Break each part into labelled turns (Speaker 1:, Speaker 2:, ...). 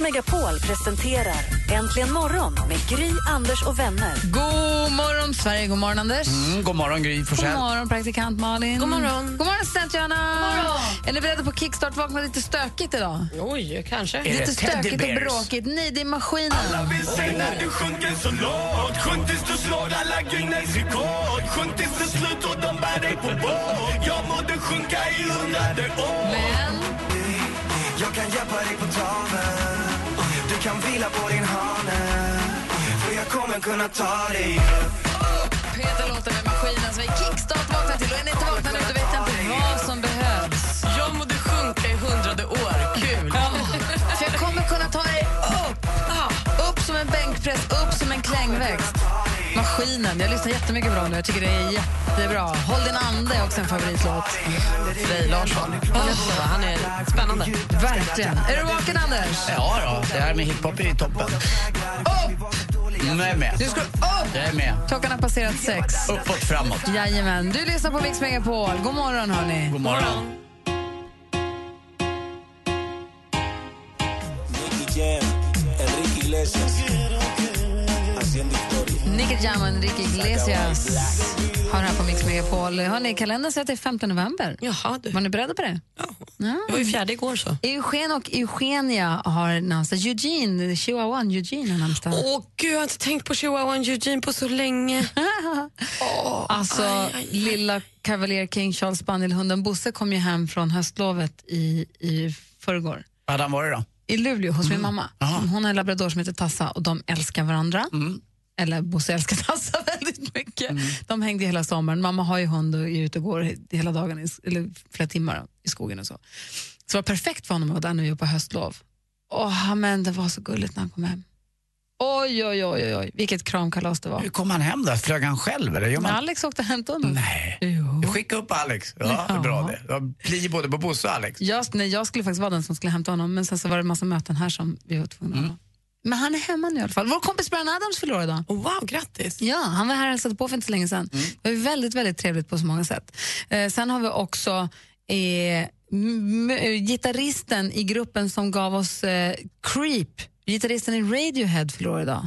Speaker 1: Megapol presenterar Äntligen morgon med Gry, Anders och vänner.
Speaker 2: God morgon, Sverige. God morgon, Anders.
Speaker 3: Mm, god morgon, Gry
Speaker 2: God
Speaker 3: Forssell.
Speaker 2: morgon, praktikant Malin. God morgon. God morgon, assistent Johanna. Är ni beredda på kickstart? Vakna lite stökigt idag.
Speaker 4: Oj, kanske.
Speaker 3: Är
Speaker 2: Lite
Speaker 3: det
Speaker 2: stökigt och
Speaker 3: teddybears?
Speaker 2: bråkigt. Nej, det är maskinen.
Speaker 5: Vi säg när du sjunker så lågt Sjunk tills du slår alla gringar i rekord Sjunk tills det slut och de bär dig på båt Jag må du sjunka i hundrade år
Speaker 2: Men
Speaker 5: Jag kan hjälpa dig på traven Du kan vila på din hane För jag kommer kunna ta dig upp
Speaker 2: Peter låter med maskinen som vi kickstart vaknar till. Och är ni inte vakna nu, då vet jag inte vad som behövs.
Speaker 4: Jag mådde sjunka i hundrade år. Kul.
Speaker 2: För jag kommer kunna ta dig upp. Ah, Upp som en bänkpress, upp som en klängväxt. Maskinen. Jag lyssnar jättemycket bra nu. Jag tycker det är jättebra. Håll din ande är också en favoritlåt. Frej Larsson.
Speaker 4: Han är spännande.
Speaker 2: Verkligen. Är du vaken, Anders?
Speaker 3: Ja, då. Det här med hiphop är toppen.
Speaker 2: Upp!
Speaker 3: Nu är jag med.
Speaker 2: Nu ska du upp!
Speaker 3: Jag är med.
Speaker 2: Klockan har passerat sex.
Speaker 3: Uppåt, framåt.
Speaker 2: Jajamän. Du lyssnar på Mix Megapol. God morgon, hörni.
Speaker 3: God morgon.
Speaker 2: Nicky Jam och Enrique Iglesias har här på Mix Megapol. Hörni, kalendern säger att det är 15 november.
Speaker 4: Jaha, du.
Speaker 2: Var ni beredda på det?
Speaker 4: Det var ju fjärde igår så.
Speaker 2: Eugen och Eugenia har namnsdag. Eugene, chihuahuan Eugene har namnsdag.
Speaker 4: Åh gud, jag har inte tänkt på chihuahuan Eugene på så länge.
Speaker 2: Alltså, lilla Cavalier King Charles Spaniel-hunden Bosse kom ju hem från höstlovet i, i förrgår.
Speaker 3: Vad hade han varit då?
Speaker 2: i Luleå hos min mamma.
Speaker 3: Mm. Aha. Mm.
Speaker 2: Hon har en labrador som heter Tassa och de älskar varandra. Eller Bosse älskar Tassa väldigt mycket. De hängde hela sommaren. Mamma har ju hund och är ute och går hela dagen, i, eller flera timmar i skogen och så. Så det var perfekt för honom att vara där nu på höstlov. Åh, men det var så gulligt när han kom hem. Oj, oj, oj, oj, oj. vilket kramkalas det var.
Speaker 3: Hur kom han hem då? Flög han själv eller? Gör
Speaker 2: Men
Speaker 3: man...
Speaker 2: Alex åkte och hämtade honom.
Speaker 3: Nej.
Speaker 2: Jo.
Speaker 3: Skicka upp Alex. Ja, det är bra det. Jag blir både på Bosse och Alex.
Speaker 2: Jag, nej, jag skulle faktiskt vara den som skulle hämta honom, men sen så var det en massa möten här som vi var tvungna
Speaker 3: Mm.
Speaker 2: att ha. Men han är hemma nu i alla fall. Vår kompis Brian Adams förlorar idag.
Speaker 4: Åh, wow, grattis.
Speaker 2: Ja, han var här och hälsade på för inte så länge sedan. Det var ju väldigt, väldigt trevligt på så många sätt. Eh, sen har vi också eh, m- m- gitarristen i gruppen som gav oss eh, Creep. Gitarristen i Radiohead förlorade idag.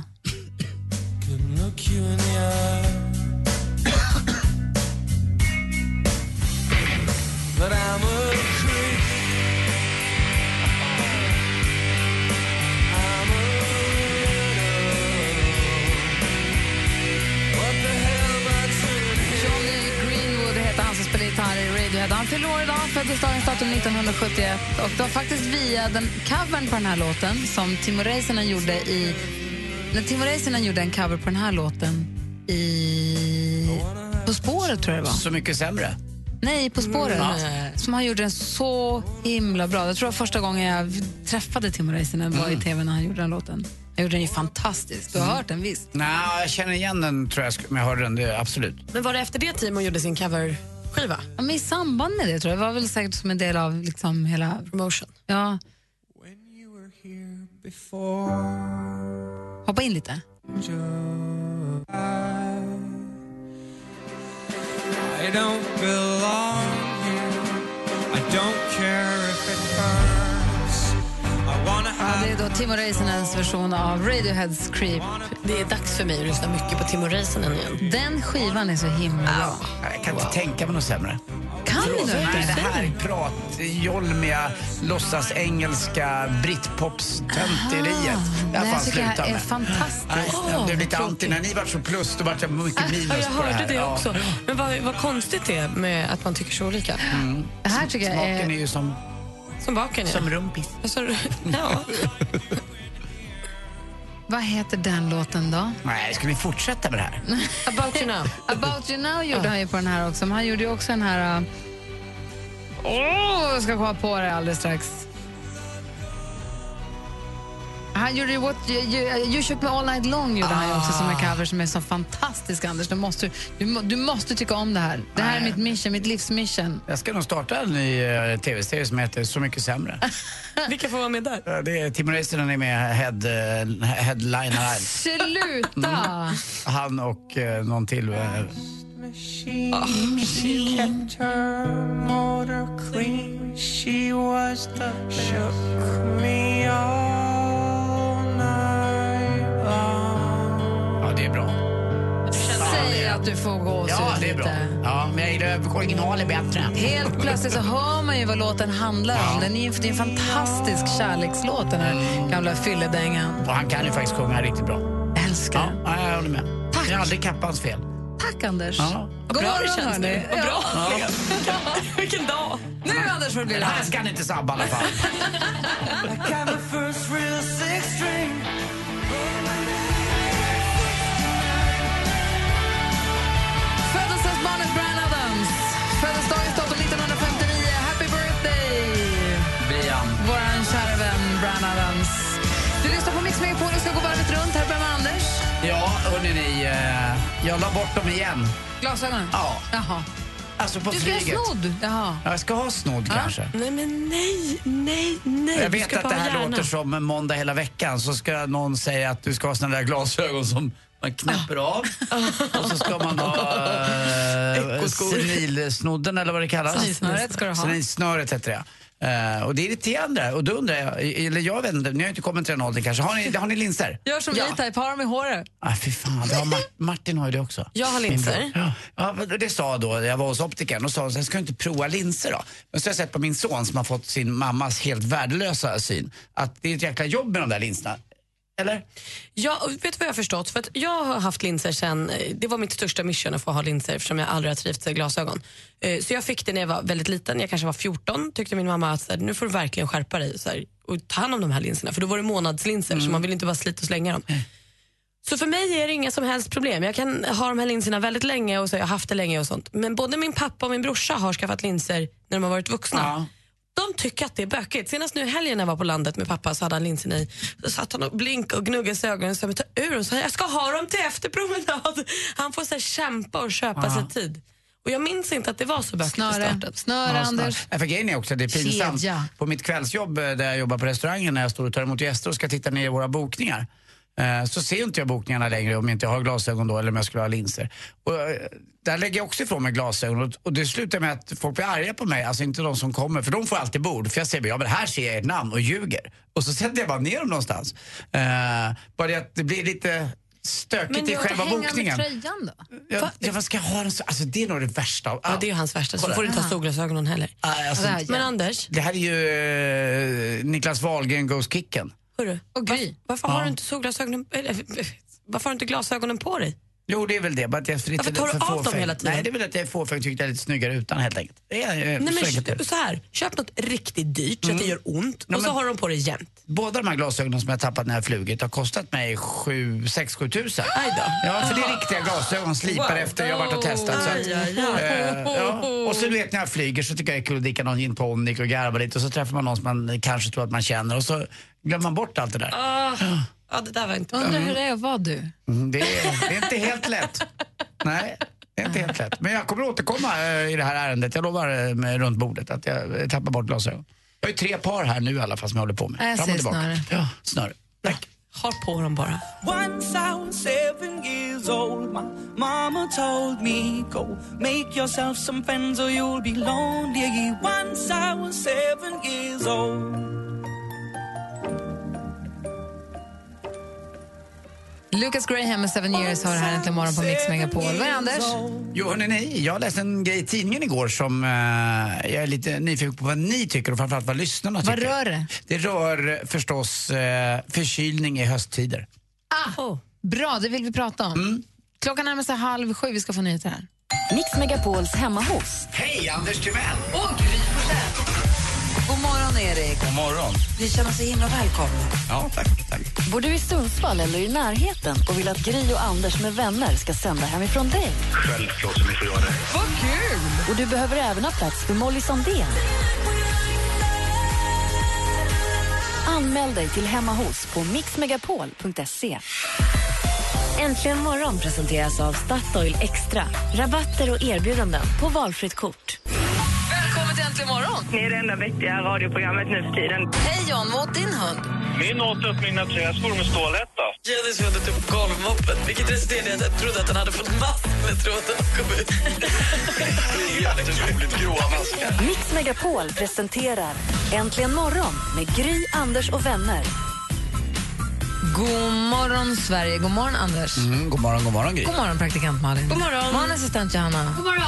Speaker 2: Johnny Greenwood heter han som spelar gitarr i Radiohead. Han förlorar idag, föddes dagens datum 1971. Och det var faktiskt via den covern på den här låten som Timo Räisänen gjorde i... När Timo Räisänen gjorde en cover på den här låten i... På spåret tror jag det var.
Speaker 3: Så mycket sämre.
Speaker 2: Nej, På
Speaker 3: Mm.
Speaker 2: spåret.
Speaker 4: Nej.
Speaker 2: Som han gjorde den så himla bra. Jag tror det var första gången jag träffade Timo Räisänen var
Speaker 3: Mm.
Speaker 2: i tv när han gjorde den låten. Jag gjorde den ju fantastiskt. Du har hört den visst?
Speaker 3: Nej, jag känner igen den tror jag, men jag hörde den, det, absolut.
Speaker 4: Men var det efter det Timon gjorde sin coverskiva?
Speaker 2: Ja, men I samband med det tror jag. Det var väl säkert som en del av liksom hela...
Speaker 4: Promotion.
Speaker 2: Ja. Hoppa in lite. Ja, det är då Timo Räisänens version av Radioheads Creep.
Speaker 4: Det är dags för mig att lyssna mycket på Timo Räisänen igen.
Speaker 2: Den skivan är så himla bra.
Speaker 3: Jag kan inte tänka mig något sämre.
Speaker 2: Kan ni nu?
Speaker 3: Nej, det
Speaker 2: inte?
Speaker 3: här är prat, jolmiga, låtsas engelska, brittpops-tönteriet. Det här
Speaker 2: Nej,
Speaker 3: får han
Speaker 2: jag tycker det
Speaker 3: sluta
Speaker 2: här är
Speaker 3: med. Nej,
Speaker 2: fantastiskt.
Speaker 3: jag blev lite anti. När ni vart så plus, då vart jag mycket minus
Speaker 4: Ja, jag
Speaker 3: på det här.
Speaker 4: hörde det
Speaker 3: Ja.
Speaker 4: också. Men vad, vad konstigt det är med att man tycker så olika.
Speaker 2: Det här tycker jag
Speaker 3: Smaken är
Speaker 2: är...
Speaker 3: ju som,
Speaker 4: Som baken
Speaker 3: som
Speaker 4: är.
Speaker 3: rumpis.
Speaker 4: Alltså, ja.
Speaker 2: Vad heter den låten då?
Speaker 3: Nej, ska ni fortsätta med det här?
Speaker 4: About you now.
Speaker 2: About you now gjorde han ju på den här också, men han gjorde ju också den här... uh, Åh, jag ska komma på det alldeles strax. Här han gjorde ju what, you, you, you shook me all night long gjorde han ju också som en
Speaker 3: Ah.
Speaker 2: cover som är så fantastisk Anders. Du måste, du, må- du måste tycka om det här. Det här är
Speaker 3: Nej.
Speaker 2: mitt mission, mitt livsmission.
Speaker 3: Jag ska nog starta en ny eh, tv-serie som heter Så mycket sämre.
Speaker 4: Vilka får vara med där?
Speaker 3: Eh, det är Timo Räisänen är med, head, eh, headliner.
Speaker 2: Sluta!
Speaker 3: Mm. Han och eh, någon till. Eh, ja, det är bra.
Speaker 2: Säg att du får gå
Speaker 3: Ja,
Speaker 2: ut
Speaker 3: det är bra.
Speaker 2: lite.
Speaker 3: Ja, men jag gillar originalet bättre.
Speaker 2: Helt plötsligt så hör man ju vad låten handlar om. Den är ju det är en fantastisk kärlekslåt, den
Speaker 3: Mm.
Speaker 2: här gamla fylledängan.
Speaker 3: Och han kan ju faktiskt sjunga riktigt bra.
Speaker 2: Älskar
Speaker 3: Ja,
Speaker 2: den.
Speaker 3: ja, jag håller med.
Speaker 2: Tack.
Speaker 3: Det är aldrig kappans fel.
Speaker 2: Tack, Anders.
Speaker 3: Ja.
Speaker 2: God morgon, hörni. Ja.
Speaker 4: Vilken dag!
Speaker 2: Nu, Anders, får det bli
Speaker 3: Det
Speaker 2: det
Speaker 3: här ska han inte sabba i alla fall.
Speaker 2: Födelsedagsbarnet Brian Adams. Födelsedagens datum 1959. Happy birthday! Brian. Vår kära vän Brian Adams. Du lyssnar på Mix Megapol och ska gå varvet runt. Här börjar med Anders.
Speaker 3: Ja, hörni ni. eh, Jag la bort dem igen.
Speaker 2: Glasögonen?
Speaker 3: Ja.
Speaker 2: Jaha.
Speaker 3: Alltså på
Speaker 2: Du ska ha
Speaker 3: flyget.
Speaker 2: snodd. Jaha.
Speaker 3: Ja, jag ska ha snodd kanske.
Speaker 4: Nej, men nej, nej, nej.
Speaker 3: Jag
Speaker 4: Du
Speaker 3: vet
Speaker 4: ska
Speaker 3: att
Speaker 4: bara
Speaker 3: det här
Speaker 4: ha hjärna.
Speaker 3: låter som en måndag hela veckan. Så ska någon säga att du ska ha såna där glasögon som man knäpper av. Och så ska man ha eh, senilsnodden eller vad det kallas.
Speaker 2: Senilsnöret ska du ha.
Speaker 3: Senilsnöret heter det. Eh, och det är irriterande. Och då undrar jag, eller jag vet inte, ni har ju inte kommit till den åldern kanske. Har ni, har ni linser?
Speaker 2: Gör som
Speaker 3: Ja.
Speaker 2: E-Type, har dem i håret.
Speaker 3: Ah, fy fan, det har Mar- Martin har ju det också.
Speaker 4: Jag har
Speaker 3: Min
Speaker 4: linser.
Speaker 3: bror. Ja, ja, men det sa då, jag var hos optikern och sa så här, ska du inte prova linser då? Men så har jag sett på min son som har fått sin mammas helt värdelösa syn att det är ett jäkla jobb med de där linserna. Eller?
Speaker 4: Ja, och vet du vad jag har förstått? För att jag har haft linser sen, eh, det var mitt största mission att få ha linser eftersom jag aldrig har trivts i glasögon. Eh, Så jag fick det när jag var väldigt liten, jag kanske var 14, tyckte min mamma att så här, nu får du verkligen skärpa dig så här, och ta hand om de här linserna. För då var det månadslinser så man vill inte bara slita och slänga dem. Så för mig är det inga som helst problem. Jag kan ha de här linserna väldigt länge och så har jag haft det länge och sånt. Men både min pappa och min brorsa har skaffat linser när de har varit vuxna.
Speaker 3: Ja.
Speaker 4: De tycker att det är bökigt. Senast nu i helgen när jag var på landet med pappa så hade han linsen i. Så satt han och blinkade och gnuggade sig i ögonen och sa men ta ur dem. Så jag ska ha dem till efter promenad. Han får så här kämpa och köpa sig tid. Och jag minns inte att det var så bökigt i
Speaker 2: Snöre,
Speaker 4: starten.
Speaker 2: snöre
Speaker 3: Ja, snart.
Speaker 2: Anders.
Speaker 3: Ja, för grejen är också att det är pinsamt.
Speaker 2: Kedja.
Speaker 3: På mitt kvällsjobb eh, där jag jobbar på restaurangen när jag står och tar emot gäster och ska titta ner i våra bokningar. eh, Så ser inte jag bokningarna längre om jag inte har glasögon då eller om jag skulle ha linser. Och eh, där lägger jag också ifrån mig glasögon och- och det slutar med att folk blir arga på mig, alltså inte de som kommer, för de får alltid bord. För jag säger ja men här ser jag ert namn och ljuger. Och så sätter jag bara ner dem någonstans. Eh, Bara det att det blir lite stökigt i
Speaker 2: du har
Speaker 3: själva
Speaker 2: inte hänga med
Speaker 3: bokningen.
Speaker 2: tröjan då?
Speaker 3: Ja, ja, vad ska jag ha den så? Alltså det är nog det värsta. av
Speaker 4: Ja,
Speaker 3: allt.
Speaker 4: det är ju hans värsta. Så
Speaker 3: Kolla.
Speaker 4: får du inte ha solglasögonen heller.
Speaker 3: Ah, alltså,
Speaker 2: Det här,
Speaker 4: Men
Speaker 2: ja.
Speaker 4: Anders,
Speaker 3: Det här är ju eh, Niklas Wahlgren goes kicken.
Speaker 4: hörru,
Speaker 2: Och Gry.
Speaker 4: varför har du inte solglasögonen eller, varför har du inte glasögonen på dig?
Speaker 3: Jo, det är väl det. Bara att jag är lite
Speaker 4: Varför tar du
Speaker 3: för
Speaker 4: av dem
Speaker 3: fåfäng.
Speaker 4: hela tiden?
Speaker 3: Nej, det är väl att jag är fåfäng tyckte jag är lite snyggare utan helt enkelt. Det är, eh,
Speaker 4: Nej,
Speaker 3: så enkelt är
Speaker 4: men,
Speaker 3: det.
Speaker 4: så här, köp något riktigt dyrt så
Speaker 2: Mm.
Speaker 4: att det gör ont och så
Speaker 3: men-
Speaker 4: har de på dig jämt.
Speaker 3: Båda de här glasögonen som jag tappat när jag flugit har kostat mig 6-7 tusen. Ja, för det är riktiga glasögon, slipade efter jag har varit och testat. Så att,
Speaker 4: Ah. Aj, aj, aj.
Speaker 3: eh, ja. Och så du vet när jag flyger så tycker jag det är kul att dricka någon gin tonic och garva lite och så träffar man någon som man kanske tror att man känner och så glömmer man bort allt det
Speaker 4: Ah.
Speaker 3: där.
Speaker 4: Ja, det där var inte bra.
Speaker 2: Undrar hur det är att vara du.
Speaker 3: Mm, Det är, det är inte helt lätt. Nej, det är inte helt lätt. Men jag kommer återkomma eh, i det här ärendet. Jag lovar eh, med runt bordet att jag eh, tappar bort glasögon. Jag har ju tre par här nu i alla fall som jag håller på med.
Speaker 2: Ja, jag säger snöre.
Speaker 3: Ja, snöre. Tack.
Speaker 4: Ha på dem bara.
Speaker 6: Once I was seven years old, my mama told me, Go make yourself some friends or you'll be lonely. Once I was seven years old.
Speaker 2: Lucas Graham med Seven Years har det här äntligen morgon på Mix Megapol. Vad är det, Anders?
Speaker 3: Jo, hörni, nej. Jag läste en grej i tidningen igår som eh, jag är lite nyfiken på vad ni tycker och framförallt vad lyssnarna
Speaker 2: Vad
Speaker 3: tycker.
Speaker 2: rör det?
Speaker 3: Det rör eh, förstås eh, förkylning i hösttider.
Speaker 2: Ah, Bra, det vill vi prata om.
Speaker 3: Mm.
Speaker 2: Klockan närmar sig halv sju, vi ska få nyheter här.
Speaker 1: Mix Megapols hemma hos.
Speaker 3: Hej, Anders Timell!
Speaker 7: God morgon, Erik.
Speaker 3: God morgon.
Speaker 7: Ni känner sig himla välkomna.
Speaker 3: Ja, tack. tack.
Speaker 1: Bor du i Sundsvall eller i närheten och vill att Gry och Anders med vänner ska sända hemifrån dig?
Speaker 5: Självklart som vi får göra det.
Speaker 2: Vad kul!
Speaker 1: Och du behöver även ha plats för Molly Sandén. Anmäl dig till Hemma hos på mixmegapol.se. Äntligen morgon presenteras av Statoil Extra. Rabatter och erbjudanden på valfritt kort.
Speaker 2: Välkommen till Äntligen morgon!
Speaker 8: Ni är det enda vettiga radioprogrammet nu för tiden.
Speaker 2: Hej John, mot din hund.
Speaker 8: Min åt upp mina träskor med stålhätta.
Speaker 9: Jennys hund åt upp golvmoppen, vilket resulterade i att jag trodde att den hade fått mask med tråden som kom ut.
Speaker 5: Helt otroligt gråa maskar.
Speaker 1: Mix Megapol presenterar Äntligen morgon med Gry, Anders och vänner.
Speaker 2: God morgon, Sverige. God morgon, Anders.
Speaker 3: Mm, god morgon, god morgon Gry.
Speaker 2: God morgon, praktikant Malin.
Speaker 3: God morgon.
Speaker 2: morgon assistent Johanna.
Speaker 10: God morgon.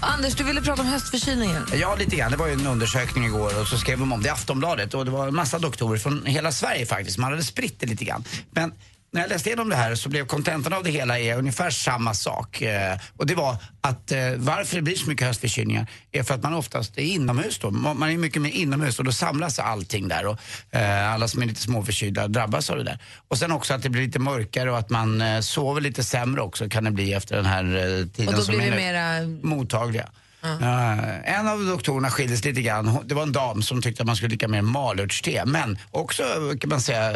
Speaker 2: Anders, du ville prata om höstförkylningen.
Speaker 3: Ja, lite grann. Det var ju en undersökning igår och så skrev de om det i Aftonbladet och det var en massa doktorer från hela Sverige faktiskt. Man hade spritt det lite grann. Men när jag läste igenom det här så blev kontentan av det hela är ungefär samma sak. Eh, Och det var att eh, varför det blir så mycket höstförkylningar är för att man oftast är inomhus då. Man man är mycket mer inomhus och då samlas allting där och eh, alla som är lite småförkylda drabbas av det där. Och sen också att det blir lite mörkare och att man eh, sover lite sämre också kan det bli efter den här eh, tiden
Speaker 2: Och då
Speaker 3: som
Speaker 2: blir
Speaker 3: är
Speaker 2: vi
Speaker 3: nu
Speaker 2: mera...
Speaker 3: mottagliga. Eh, en av doktorerna skildes lite grann. Hon- Det var en dam som tyckte att man skulle dricka mer malörtste. Men också kan man säga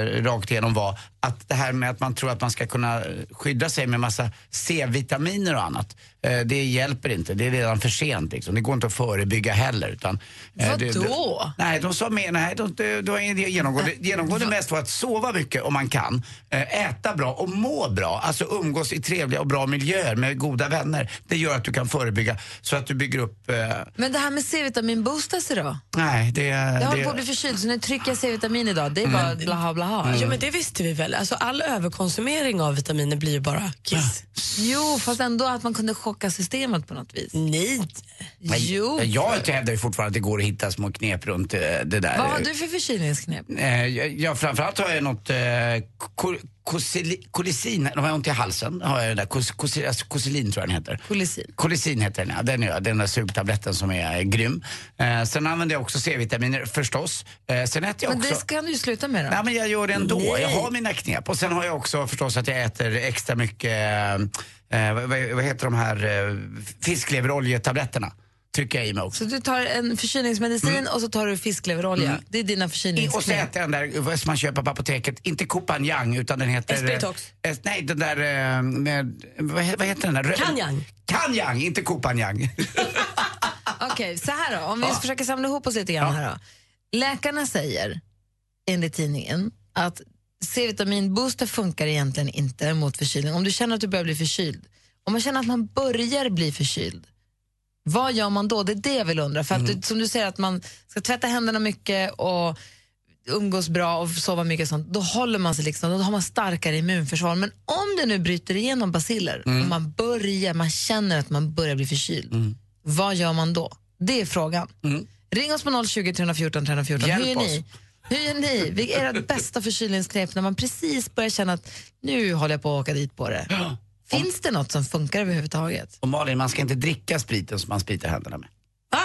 Speaker 3: eh, rakt igenom var att det här med att man tror att man ska kunna skydda sig med massa C-vitaminer och annat. eh, det hjälper inte. Det är redan för sent liksom. Det går inte att förebygga heller. Utan, eh, det-
Speaker 2: Vadå?
Speaker 3: Nej, de sa mer, nej, de, de, de, de
Speaker 2: Äh.
Speaker 3: genomgående, genomgående mest var att sova mycket om man kan, eh, äta bra och må bra. Alltså umgås i trevliga och bra miljöer med goda vänner. Det gör att du kan förebygga så att du bygger upp... Eh,
Speaker 2: Men det här med C-vitaminboostas idag?
Speaker 3: nej, det...
Speaker 2: Jag håller
Speaker 3: det-
Speaker 2: på att bli förkyld, så nu trycker jag C-vitamin idag. Det är
Speaker 3: Mm.
Speaker 2: bara blaha blaha.
Speaker 4: Ja, men det visste vi väl. Alltså, all överkonsumering av vitaminer blir ju bara kiss.
Speaker 2: Jo, fast ändå att man kunde chocka systemet på något vis.
Speaker 4: Nej.
Speaker 3: nej,
Speaker 2: Jo.
Speaker 3: Jag hävdar ju fortfarande att det går att hitta små knep runt eh, det där.
Speaker 2: Vad har du för förkylningsknep?
Speaker 3: Eh, jag- jag, framförallt har jag något eh, ko- kosili- kolicin, de har jag ont i halsen, har jag det där, kos, kos, alltså, kosilin tror jag den heter.
Speaker 2: Kolicin.
Speaker 3: Kolicin heter den, ja. Den, är, den där sugtabletten som är eh, grym. Eh, sen använder jag också C-vitaminer förstås. Eh, sen äter jag
Speaker 2: Men
Speaker 3: också...
Speaker 2: det ska du ju sluta med då.
Speaker 3: Nej men jag gör det ändå.
Speaker 2: Nej.
Speaker 3: Jag har mina knep. Och sen har jag också förstås att jag äter extra mycket, eh, vad, vad vad heter de här eh, fiskleveroljetabletterna? Trycker jag i mig också.
Speaker 2: Så du tar en förkylningsmedicin
Speaker 4: Mm.
Speaker 2: och så tar du fiskleverolja.
Speaker 3: Mm.
Speaker 2: Det är dina
Speaker 3: Och så
Speaker 2: förkylningsknep.
Speaker 3: äter jag den där eh, som man köper på apoteket, inte Copanjang utan den heter...
Speaker 2: Espiritox.
Speaker 3: eh, eh, nej, den där eh, med, vad, he- vad heter den där? Rö-
Speaker 2: Kanjang.
Speaker 3: Kanjang, inte Copanjang.
Speaker 2: Okej, så här då. Om vi försöker samla ihop oss lite grann här då. Läkarna säger, enligt tidningen, att C-vitaminbooster funkar egentligen inte mot förkylning. Om du känner att du börjar bli förkyld, om man känner att man börjar bli förkyld, vad gör man då? Det är det jag vill undra. För att
Speaker 3: Mhm.
Speaker 2: du, som du säger att man ska tvätta händerna mycket och umgås bra och sova mycket och sånt, då håller man sig liksom, då har man starkare immunförsvar. Men om det nu bryter igenom basiller
Speaker 3: Mm.
Speaker 2: och man börjar, man känner att man börjar bli förkyld, vad gör man då? Det är frågan. Ring oss på 020 314 314.
Speaker 3: Mm. Hjälp
Speaker 2: Hur gör
Speaker 3: oss.
Speaker 2: ni? Hur gör ni? Vilka är ert bästa förkylningsknep när man precis börjar känna att nu håller jag på att åka dit på det? Finns det något som funkar överhuvudtaget?
Speaker 3: Och Malin, man ska inte dricka spriten som man spritar händerna med. Ah!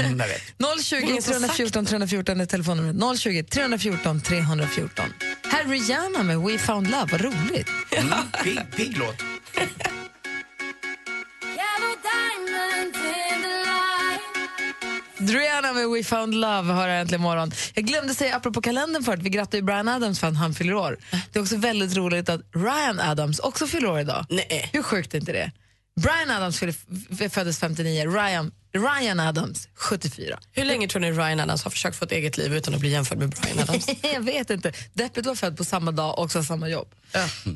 Speaker 3: Mm, jag vet.
Speaker 2: 020 314 314 är telefonnumret. 020 314 314. Här är Rihanna med We found love, vad roligt.
Speaker 3: Mm, pigg, pigg låt.
Speaker 2: Rihanna med We found love hör jag äntligen imorgon. Jag glömde säga apropå kalendern förut, vi grattar ju Brian Adams för att han fyller år. Det är också väldigt roligt att Ryan Adams också fyller år idag. Nej. Hur sjukt är inte det? Brian Adams fyller- f- föddes 59, Ryan, Ryan Adams 74.
Speaker 4: Hur länge tror ni Ryan Adams har försökt få ett eget liv utan att bli jämförd med Brian Adams?
Speaker 2: jag vet inte. Deppet var född på samma dag och också har samma jobb.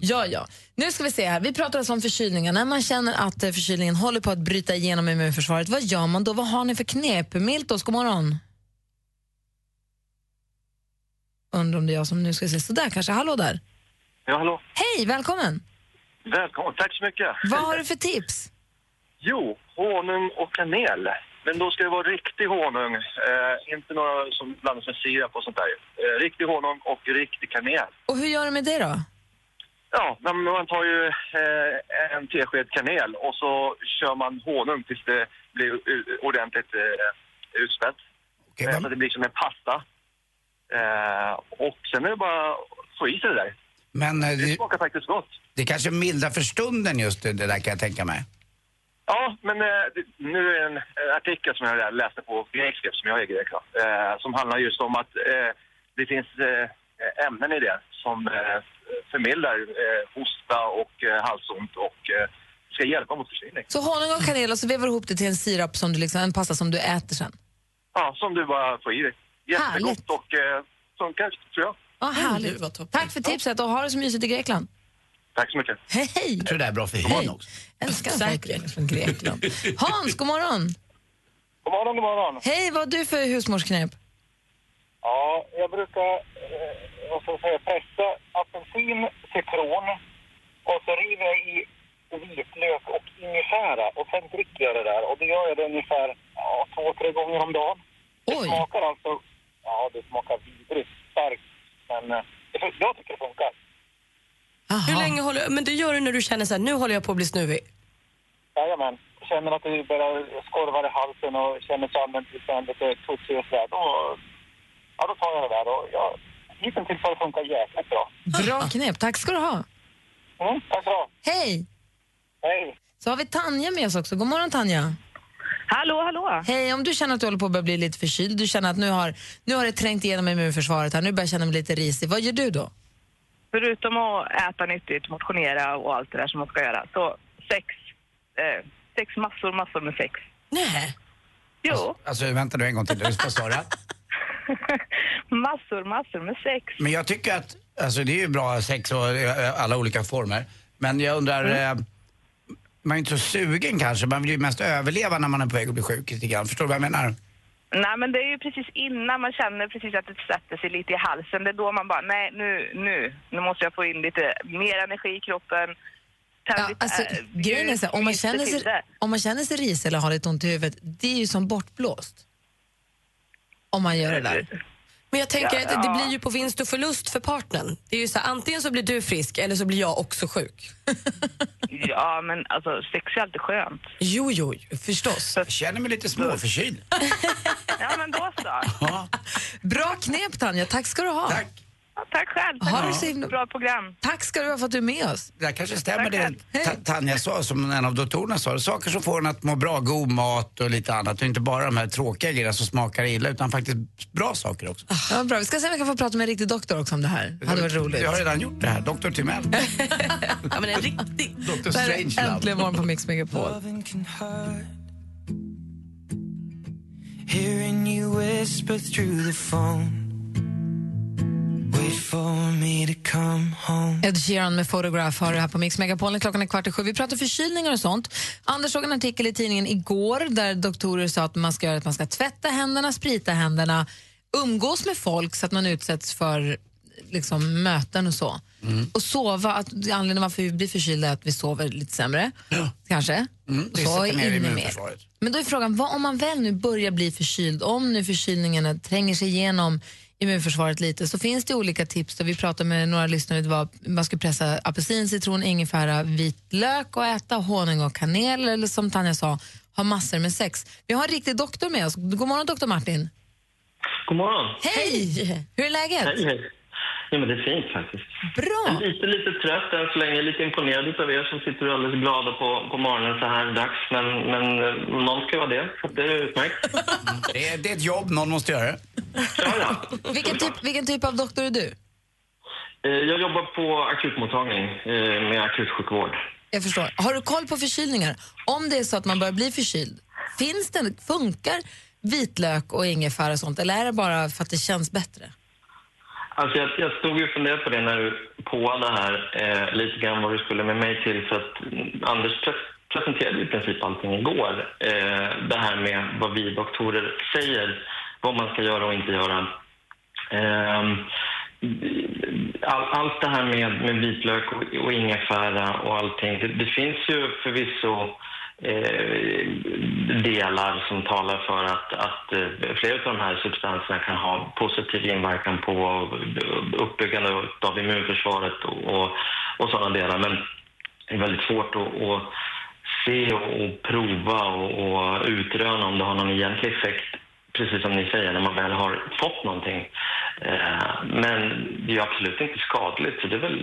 Speaker 2: Ja, ja. Nu ska vi se här. Vi pratar alltså om förkylningar. När man känner att eh, förkylningen håller på att bryta igenom immunförsvaret, vad gör man då? Vad har ni för knep? Miltos, god morgon. Undrar om det är jag som nu ska säga sådär kanske. Hallå där.
Speaker 11: Ja, hallå.
Speaker 2: Hej, välkommen.
Speaker 11: Välkommen. Tack så mycket.
Speaker 2: Vad har du för tips?
Speaker 11: Jo, honung och kanel. Men då ska det vara riktig honung, eh, inte några som blandas med sirap och sånt där. Eh, riktig honung och riktig kanel.
Speaker 2: Och hur gör du med det då?
Speaker 11: Ja, men man tar ju eh, en tesked kanel och så kör man honung tills det blir u- ordentligt eh, utspätt. eh,
Speaker 12: alltså,
Speaker 11: så att det blir som en pasta. Eh, och sen är det bara att få i sig det där.
Speaker 3: Men eh,
Speaker 11: Det
Speaker 3: det,
Speaker 11: smakar faktiskt gott.
Speaker 3: det är kanske mildrar för stunden just det det där kan jag tänka mig.
Speaker 11: Ja, men eh, det- nu är det en eh, artikel som jag läste på Grekskrift, som jag är grek, då, eh, som handlar just om att eh,
Speaker 13: det finns eh, ämnen i det som eh, förmildrar eh, hosta och eh, halsont och eh, ska hjälpa mot förkylning.
Speaker 2: Så honung och kanel och så vevar du ihop det till en sirap som du liksom, en pasta som du äter sen.
Speaker 13: Ja, som du bara får i dig. Jättegott och eh, funkar, tror jag.
Speaker 2: Vad Ah, härligt. Tack för tipset och ha det så mysigt i Grekland.
Speaker 13: Tack så mycket.
Speaker 2: Hej, hej!
Speaker 3: Jag tror det där är bra för hyn också.
Speaker 2: Älskar säkert från Grekland. Hans, god morgon!
Speaker 12: God morgon, god morgon.
Speaker 2: Hej, vad har du för husmorsknep?
Speaker 12: Ja, jag brukar eh, vad ska jag säga, pressa apelsin, citron och så river jag i vitlök och ingefära och sen dricker jag det där och då gör jag det ungefär ja, två, tre gånger om dagen. Det smakar alltså, ja det smakar vidrigt starkt men eh, det fun- jag tycker det funkar.
Speaker 14: Hur länge håller, men det gör du när du känner så här, nu håller jag på att bli snuvig.
Speaker 12: Jajamän, känner att det börjar skorva i halsen och känner sig allmänt liksom lite tutsig och sådär. Då, ja, då tar jag det där och jag, hittills har det funkat jäkligt bra.
Speaker 2: Bra knep, tack ska du ha.
Speaker 12: Mm, tack så bra.
Speaker 2: Hej!
Speaker 12: Hej!
Speaker 2: Så har vi Tanja med oss också. God morgon Tanja!
Speaker 4: Hallå, hallå!
Speaker 2: Hej, om du känner att du håller på att börja bli lite förkyld, du känner att nu har, nu har det trängt igenom immunförsvaret här, nu börjar jag känna mig lite risig, vad gör du då?
Speaker 4: Förutom att äta nyttigt, motionera och allt det där som man ska göra, så sex, eh, sex massor, massor med sex.
Speaker 2: Nej.
Speaker 4: Jo,
Speaker 3: Alltså vänta nu en gång till, vad sa du?
Speaker 4: massor, massor med sex.
Speaker 3: Men jag tycker att, alltså det är ju bra sex och eh, alla olika former. Men jag undrar,
Speaker 2: Mm.
Speaker 3: eh, man är inte så sugen kanske, man vill ju mest överleva när man är på väg att bli sjuk lite grann. Förstår du vad jag menar?
Speaker 4: Nej, men det är ju precis innan man känner precis att det sätter sig lite i halsen. Det är då man bara, nej, nu, nu, nu måste jag få in lite mer energi i kroppen. Tänd
Speaker 2: Ja,
Speaker 4: lite,
Speaker 2: alltså,
Speaker 4: eh,
Speaker 2: grejen är så här, om, man
Speaker 4: lyser
Speaker 2: känner sig,
Speaker 4: till det.
Speaker 2: om man känner sig risig eller har lite ont i huvudet, det är ju som bortblåst. Om man gör det där.
Speaker 14: Men jag tänker
Speaker 2: Ja,
Speaker 14: att det
Speaker 2: ja.
Speaker 14: blir ju på vinst och förlust för partnern. Det är ju så här, antingen så blir du frisk eller så blir jag också sjuk.
Speaker 4: Ja, men alltså sex är alltid skönt.
Speaker 14: Jo, jo, jo, förstås.
Speaker 3: Jag känner mig lite
Speaker 2: Mm.
Speaker 3: småförkyld.
Speaker 4: Ja, men då så.
Speaker 2: Bra knep Tanja, tack ska du ha. Tack,
Speaker 4: tack själv.
Speaker 2: Ha
Speaker 3: Ja.
Speaker 2: det så himla...
Speaker 4: Bra program.
Speaker 2: Tack ska du ha för att du är med oss.
Speaker 3: Det där kanske stämmer det Ta- Tanja sa, som en av doktorerna sa. Saker som får en att må bra, god mat och lite annat. Och inte bara de här tråkiga grejerna som smakar illa, utan faktiskt bra saker också.
Speaker 2: Ja, bra. Vi ska se om vi kan få prata med en riktig doktor också om det här. Ah, Det hade varit roligt.
Speaker 3: Jag har redan gjort det här, doktor Timell.
Speaker 14: ja, men en riktig...
Speaker 3: Dr.
Speaker 2: Där är
Speaker 3: Strangelove.
Speaker 2: Äntligen morgon på Mix Megapol.
Speaker 6: Alltså,
Speaker 15: Loving can hurt. Hearing you whisper through the phone. Wait for me to come home.
Speaker 2: Ed Sheeran med Photograph har du här på Mix Megapolen. Klockan är kvart i sju. Vi pratar förkylningar och sånt. Anders såg en artikel i tidningen igår där doktorer sa att man ska, göra att man ska tvätta händerna, sprita händerna, umgås med folk så att man utsätts för liksom, möten och så.
Speaker 3: Mm.
Speaker 2: Och sova, att anledningen varför vi blir förkylda är att vi sover lite sämre. Kanske.
Speaker 3: Mm,
Speaker 2: Och så
Speaker 3: sätter ner
Speaker 2: in med mer.
Speaker 3: immunförsvaret.
Speaker 2: Men då är frågan, vad, om man väl nu börjar bli förkyld, om nu förkylningen tränger sig igenom immunförsvaret lite, så finns det olika tips. Där vi pratade med några lyssnare, det var, man skulle pressa apelsin, citron, ingefära, vitlök och äta, honung och kanel, eller som Tanja sa, ha massor med sex. Vi har en riktig doktor med oss. God morgon doktor Martin.
Speaker 6: God morgon.
Speaker 2: Hej! Hur är läget?
Speaker 6: Hej, hej. Ja, men det är fint faktiskt.
Speaker 2: Bra!
Speaker 6: Lite, lite trött än så länge. Lite imponerad utav er som sitter alldeles glada på, på morgonen så här dags. Men, men eh, någon ska vara det, så det är utmärkt.
Speaker 3: Det är, det är ett jobb, någon måste göra det.
Speaker 2: Vilken typ, vilken typ av doktor är du?
Speaker 6: Eh, Jag jobbar på akutmottagning eh, med akutsjukvård.
Speaker 2: Jag förstår. Har du koll på förkylningar? Om det är så att man börjar bli förkyld, finns det, funkar vitlök och ingefära och sånt eller är det bara för att det känns bättre?
Speaker 6: Alltså jag, jag stod ju och funderade på det när du påade här eh, lite grann vad du skulle med mig till. För att mm, Anders pre- presenterade i princip allting igår. Eh, det här med vad vi doktorer säger, vad man ska göra och inte göra. Ehm, all, allt det här med, med vitlök och, och ingefära och allting. Det, det finns ju förvisso eh, delar som talar för att, att eh, flera av de här substanserna kan ha positiv inverkan på uppbyggande av immunförsvaret och, och, och sådana delar. Men det är väldigt svårt att, att se och, och prova och, och utröna om det har någon egentlig effekt precis som ni säger, när man väl har fått någonting. Eh, Men det är ju absolut inte skadligt, så det är väl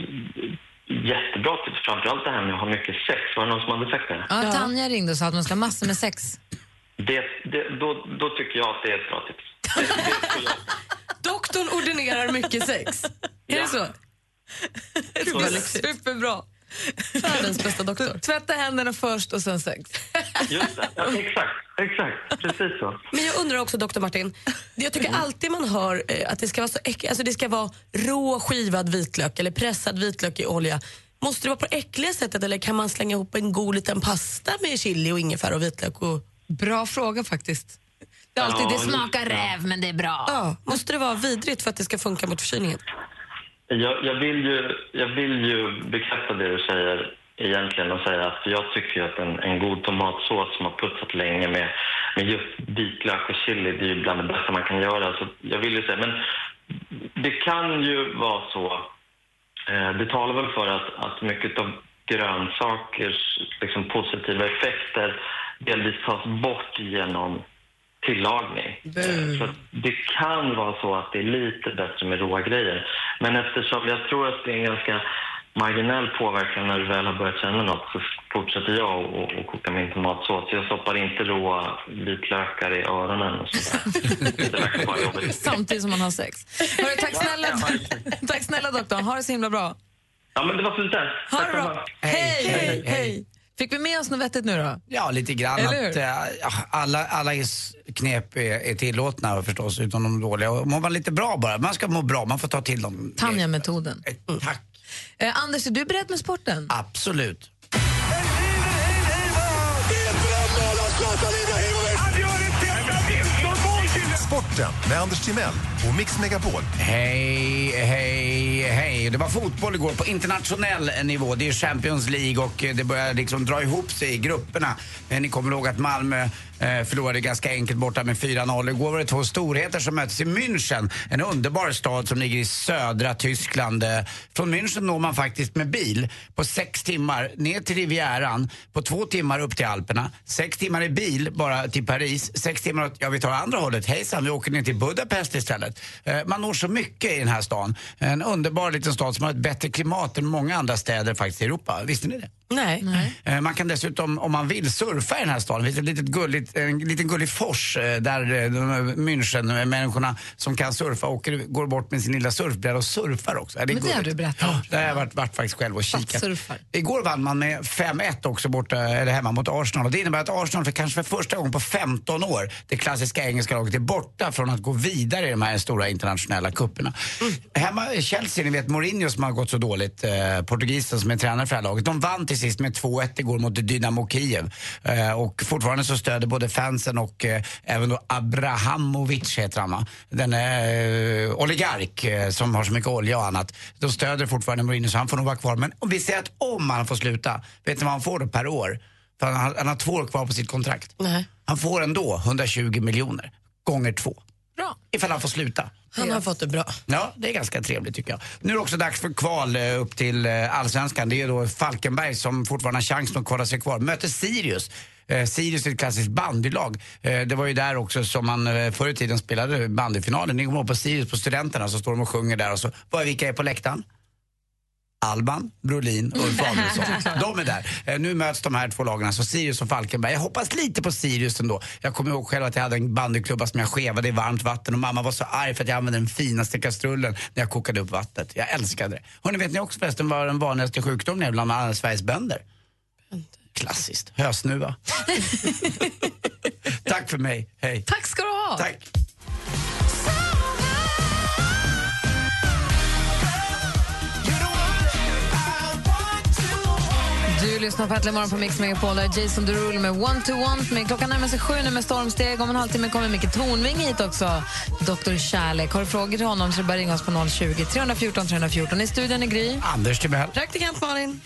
Speaker 6: jättebra tips. Framförallt det här med att ha mycket sex. Var det någon som hade sagt det?
Speaker 2: Ja, Tanja ringde och sa att man ska ha massor med sex.
Speaker 6: det, det då, då tycker jag att det är ett bra tips.
Speaker 4: Doktorn ordinerar mycket sex. Är det så?
Speaker 10: Gud, vad lyxigt.
Speaker 4: Superbra. Världens bästa doktor.
Speaker 10: Tvätta händerna först och sen sex.
Speaker 12: Just det. Ja, exakt, exakt. Precis så.
Speaker 4: Men jag undrar också, doktor Martin. Jag tycker
Speaker 10: Mm.
Speaker 4: alltid man hör eh, att det ska vara så äck... alltså det ska vara rå skivad vitlök eller pressad vitlök i olja. Måste det vara på det äckliga sättet eller kan man slänga ihop en god liten pasta med chili och ingefära och vitlök? Och...
Speaker 10: Bra fråga faktiskt. Det är alltid det smakar räv, men det är bra.
Speaker 4: Ja, måste det vara vidrigt för att det ska funka mot förkylningen?
Speaker 12: Jag, jag, vill ju, jag vill ju bekräfta det du säger egentligen och säga att jag tycker ju att en, en god tomatsås som har putsat länge med, med just vitlök och chili, det är ju bland det bästa man kan göra. Så jag vill ju säga, men det kan ju vara så, eh, det talar väl för att, att mycket av grönsakers liksom, positiva effekter delvis tas bort genom tillagning. Så att det kan vara så att det är lite bättre med råa grejer. Men eftersom jag tror att det är en ganska marginell påverkan när du väl har börjat känna något så fortsätter jag att- att koka min tomatsås. Jag stoppar inte råa vitlökar i öronen och sådär. Det verkar bara jobbigt.
Speaker 10: Samtidigt som man har sex. Hörru, tack, snälla, tack snälla doktorn, ha det så himla bra.
Speaker 12: Ja, men det var fint där.
Speaker 10: Ha det bra. Hej, hej, hej. Fick vi med oss något vettigt nu då?
Speaker 3: Ja, lite grann.
Speaker 10: Eller
Speaker 3: Att, eh, alla, alla is- knep är, är tillåtna förstås, utom de dåliga. Och Mår man lite bra bara, man ska må bra, man får ta till dem.
Speaker 10: Tanja-metoden.
Speaker 3: Tack.
Speaker 10: Eh, Anders, är du beredd med sporten?
Speaker 3: Absolut.
Speaker 16: Sporten med Anders Timell och Mix Megapol.
Speaker 3: Hej, hej, hej. Det var fotboll igår på internationell nivå. Det är Champions League och eh, det börjar liksom dra ihop sig i grupperna. Eh, Ni kommer ihåg att Malmö eh, förlorade ganska enkelt borta med 4-0. Igår var det två storheter som möttes i München. En underbar stad som ligger i södra Tyskland. Eh, Från München når man faktiskt med bil på sex timmar ner till Rivieran, på två timmar upp till Alperna, sex timmar i bil bara till Paris, sex timmar åt, ja vi tar andra hållet, hejsan vi åker ner till Budapest istället. Eh, man når så mycket i den här stan. En underbar liten stad som har ett bättre klimat än många andra städer faktiskt i Europa. Visste ni det?
Speaker 4: Nej.
Speaker 3: Eh, Man kan dessutom, om man vill, surfa i den här staden. Det finns ett litet gulligt, en liten gullig fors eh, där eh, de här München-människorna som kan surfa åker, går bort med sin lilla surfbräda och surfar också. Ja, Det är
Speaker 10: Men det har
Speaker 3: gulligt.
Speaker 10: du berättat
Speaker 3: Ja, det har jag varit, varit faktiskt själv och kikat.
Speaker 10: Surfar.
Speaker 3: Igår vann man med 5-1 också borta, eller hemma mot Arsenal. Och det innebär att Arsenal för kanske för första gången på 15 år, det klassiska engelska laget, är borta från att gå vidare i de här stora internationella cuperna. Hemma i Chelsea, ni vet Mourinho som har gått så dåligt, eh, portugisen som är tränare för det här laget, de vann till sist med 2-1 igår mot Dynamo Kiev. Eh, och fortfarande så stöder både fansen och eh, även då Abrahamovic heter han va? Den eh, oligark eh, som har så mycket olja och annat. De stöder fortfarande Mourinho så han får nog vara kvar. Men om vi säger att om han får sluta, vet ni vad han får då per år? För han, har- han har två år kvar på sitt kontrakt.
Speaker 4: Nej.
Speaker 3: Han får ändå 120 miljoner gånger två.
Speaker 4: Bra.
Speaker 3: Ifall han får sluta.
Speaker 4: Han har fått det bra.
Speaker 3: Ja, det är ganska trevligt tycker jag. Nu är det också dags för kval eh, upp till eh, allsvenskan. Det är då Falkenberg som fortfarande har chansen att kvala sig kvar. Möter Sirius. Eh, Sirius är ett klassiskt bandylag. Eh, det var ju där också som man eh, förr i tiden spelade bandyfinalen. Ni kommer ihåg på Sirius, på Studenterna, så står de och sjunger där och så, vad, vilka är på läktaren? Alban, Brolin och Ulf Adelsohn. De är där. Eh, Nu möts de här två lagen, alltså Sirius och Falkenberg. Jag hoppas lite på Sirius ändå. Jag kommer ihåg själv att jag hade en bandyklubba som jag skevade i varmt vatten och mamma var så arg för att jag använde den finaste kastrullen när jag kokade upp vattnet. Jag älskade det. Hörrni, vet ni också förresten vad den vanligaste sjukdomen är bland alla Sveriges bönder? Klassiskt. Hösnuva. Tack för mig. Hej.
Speaker 10: Tack ska du ha.
Speaker 3: Tack.
Speaker 10: Du lyssnar på Äntligen morgon på Mix Megapol. Där är Jason Derulo med One to Want. Me. Klockan närmar sig sju nu med stormsteg. Om en halvtimme kommer Micke Tornving hit också. Dr Kärlek. Har du frågor till honom så är det bara att ringa oss på 020 314 314. I studion är Gry.
Speaker 3: Anders Timell.
Speaker 10: Praktikant Malin.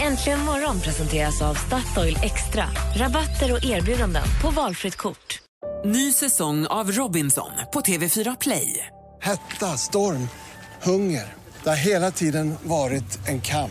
Speaker 1: Äntligen morgon presenteras av Statoil Extra. Rabatter och erbjudanden på valfritt kort.
Speaker 17: Ny säsong av Robinson på TV4 Play.
Speaker 18: Hetta, storm, hunger. Det har hela tiden varit en kamp.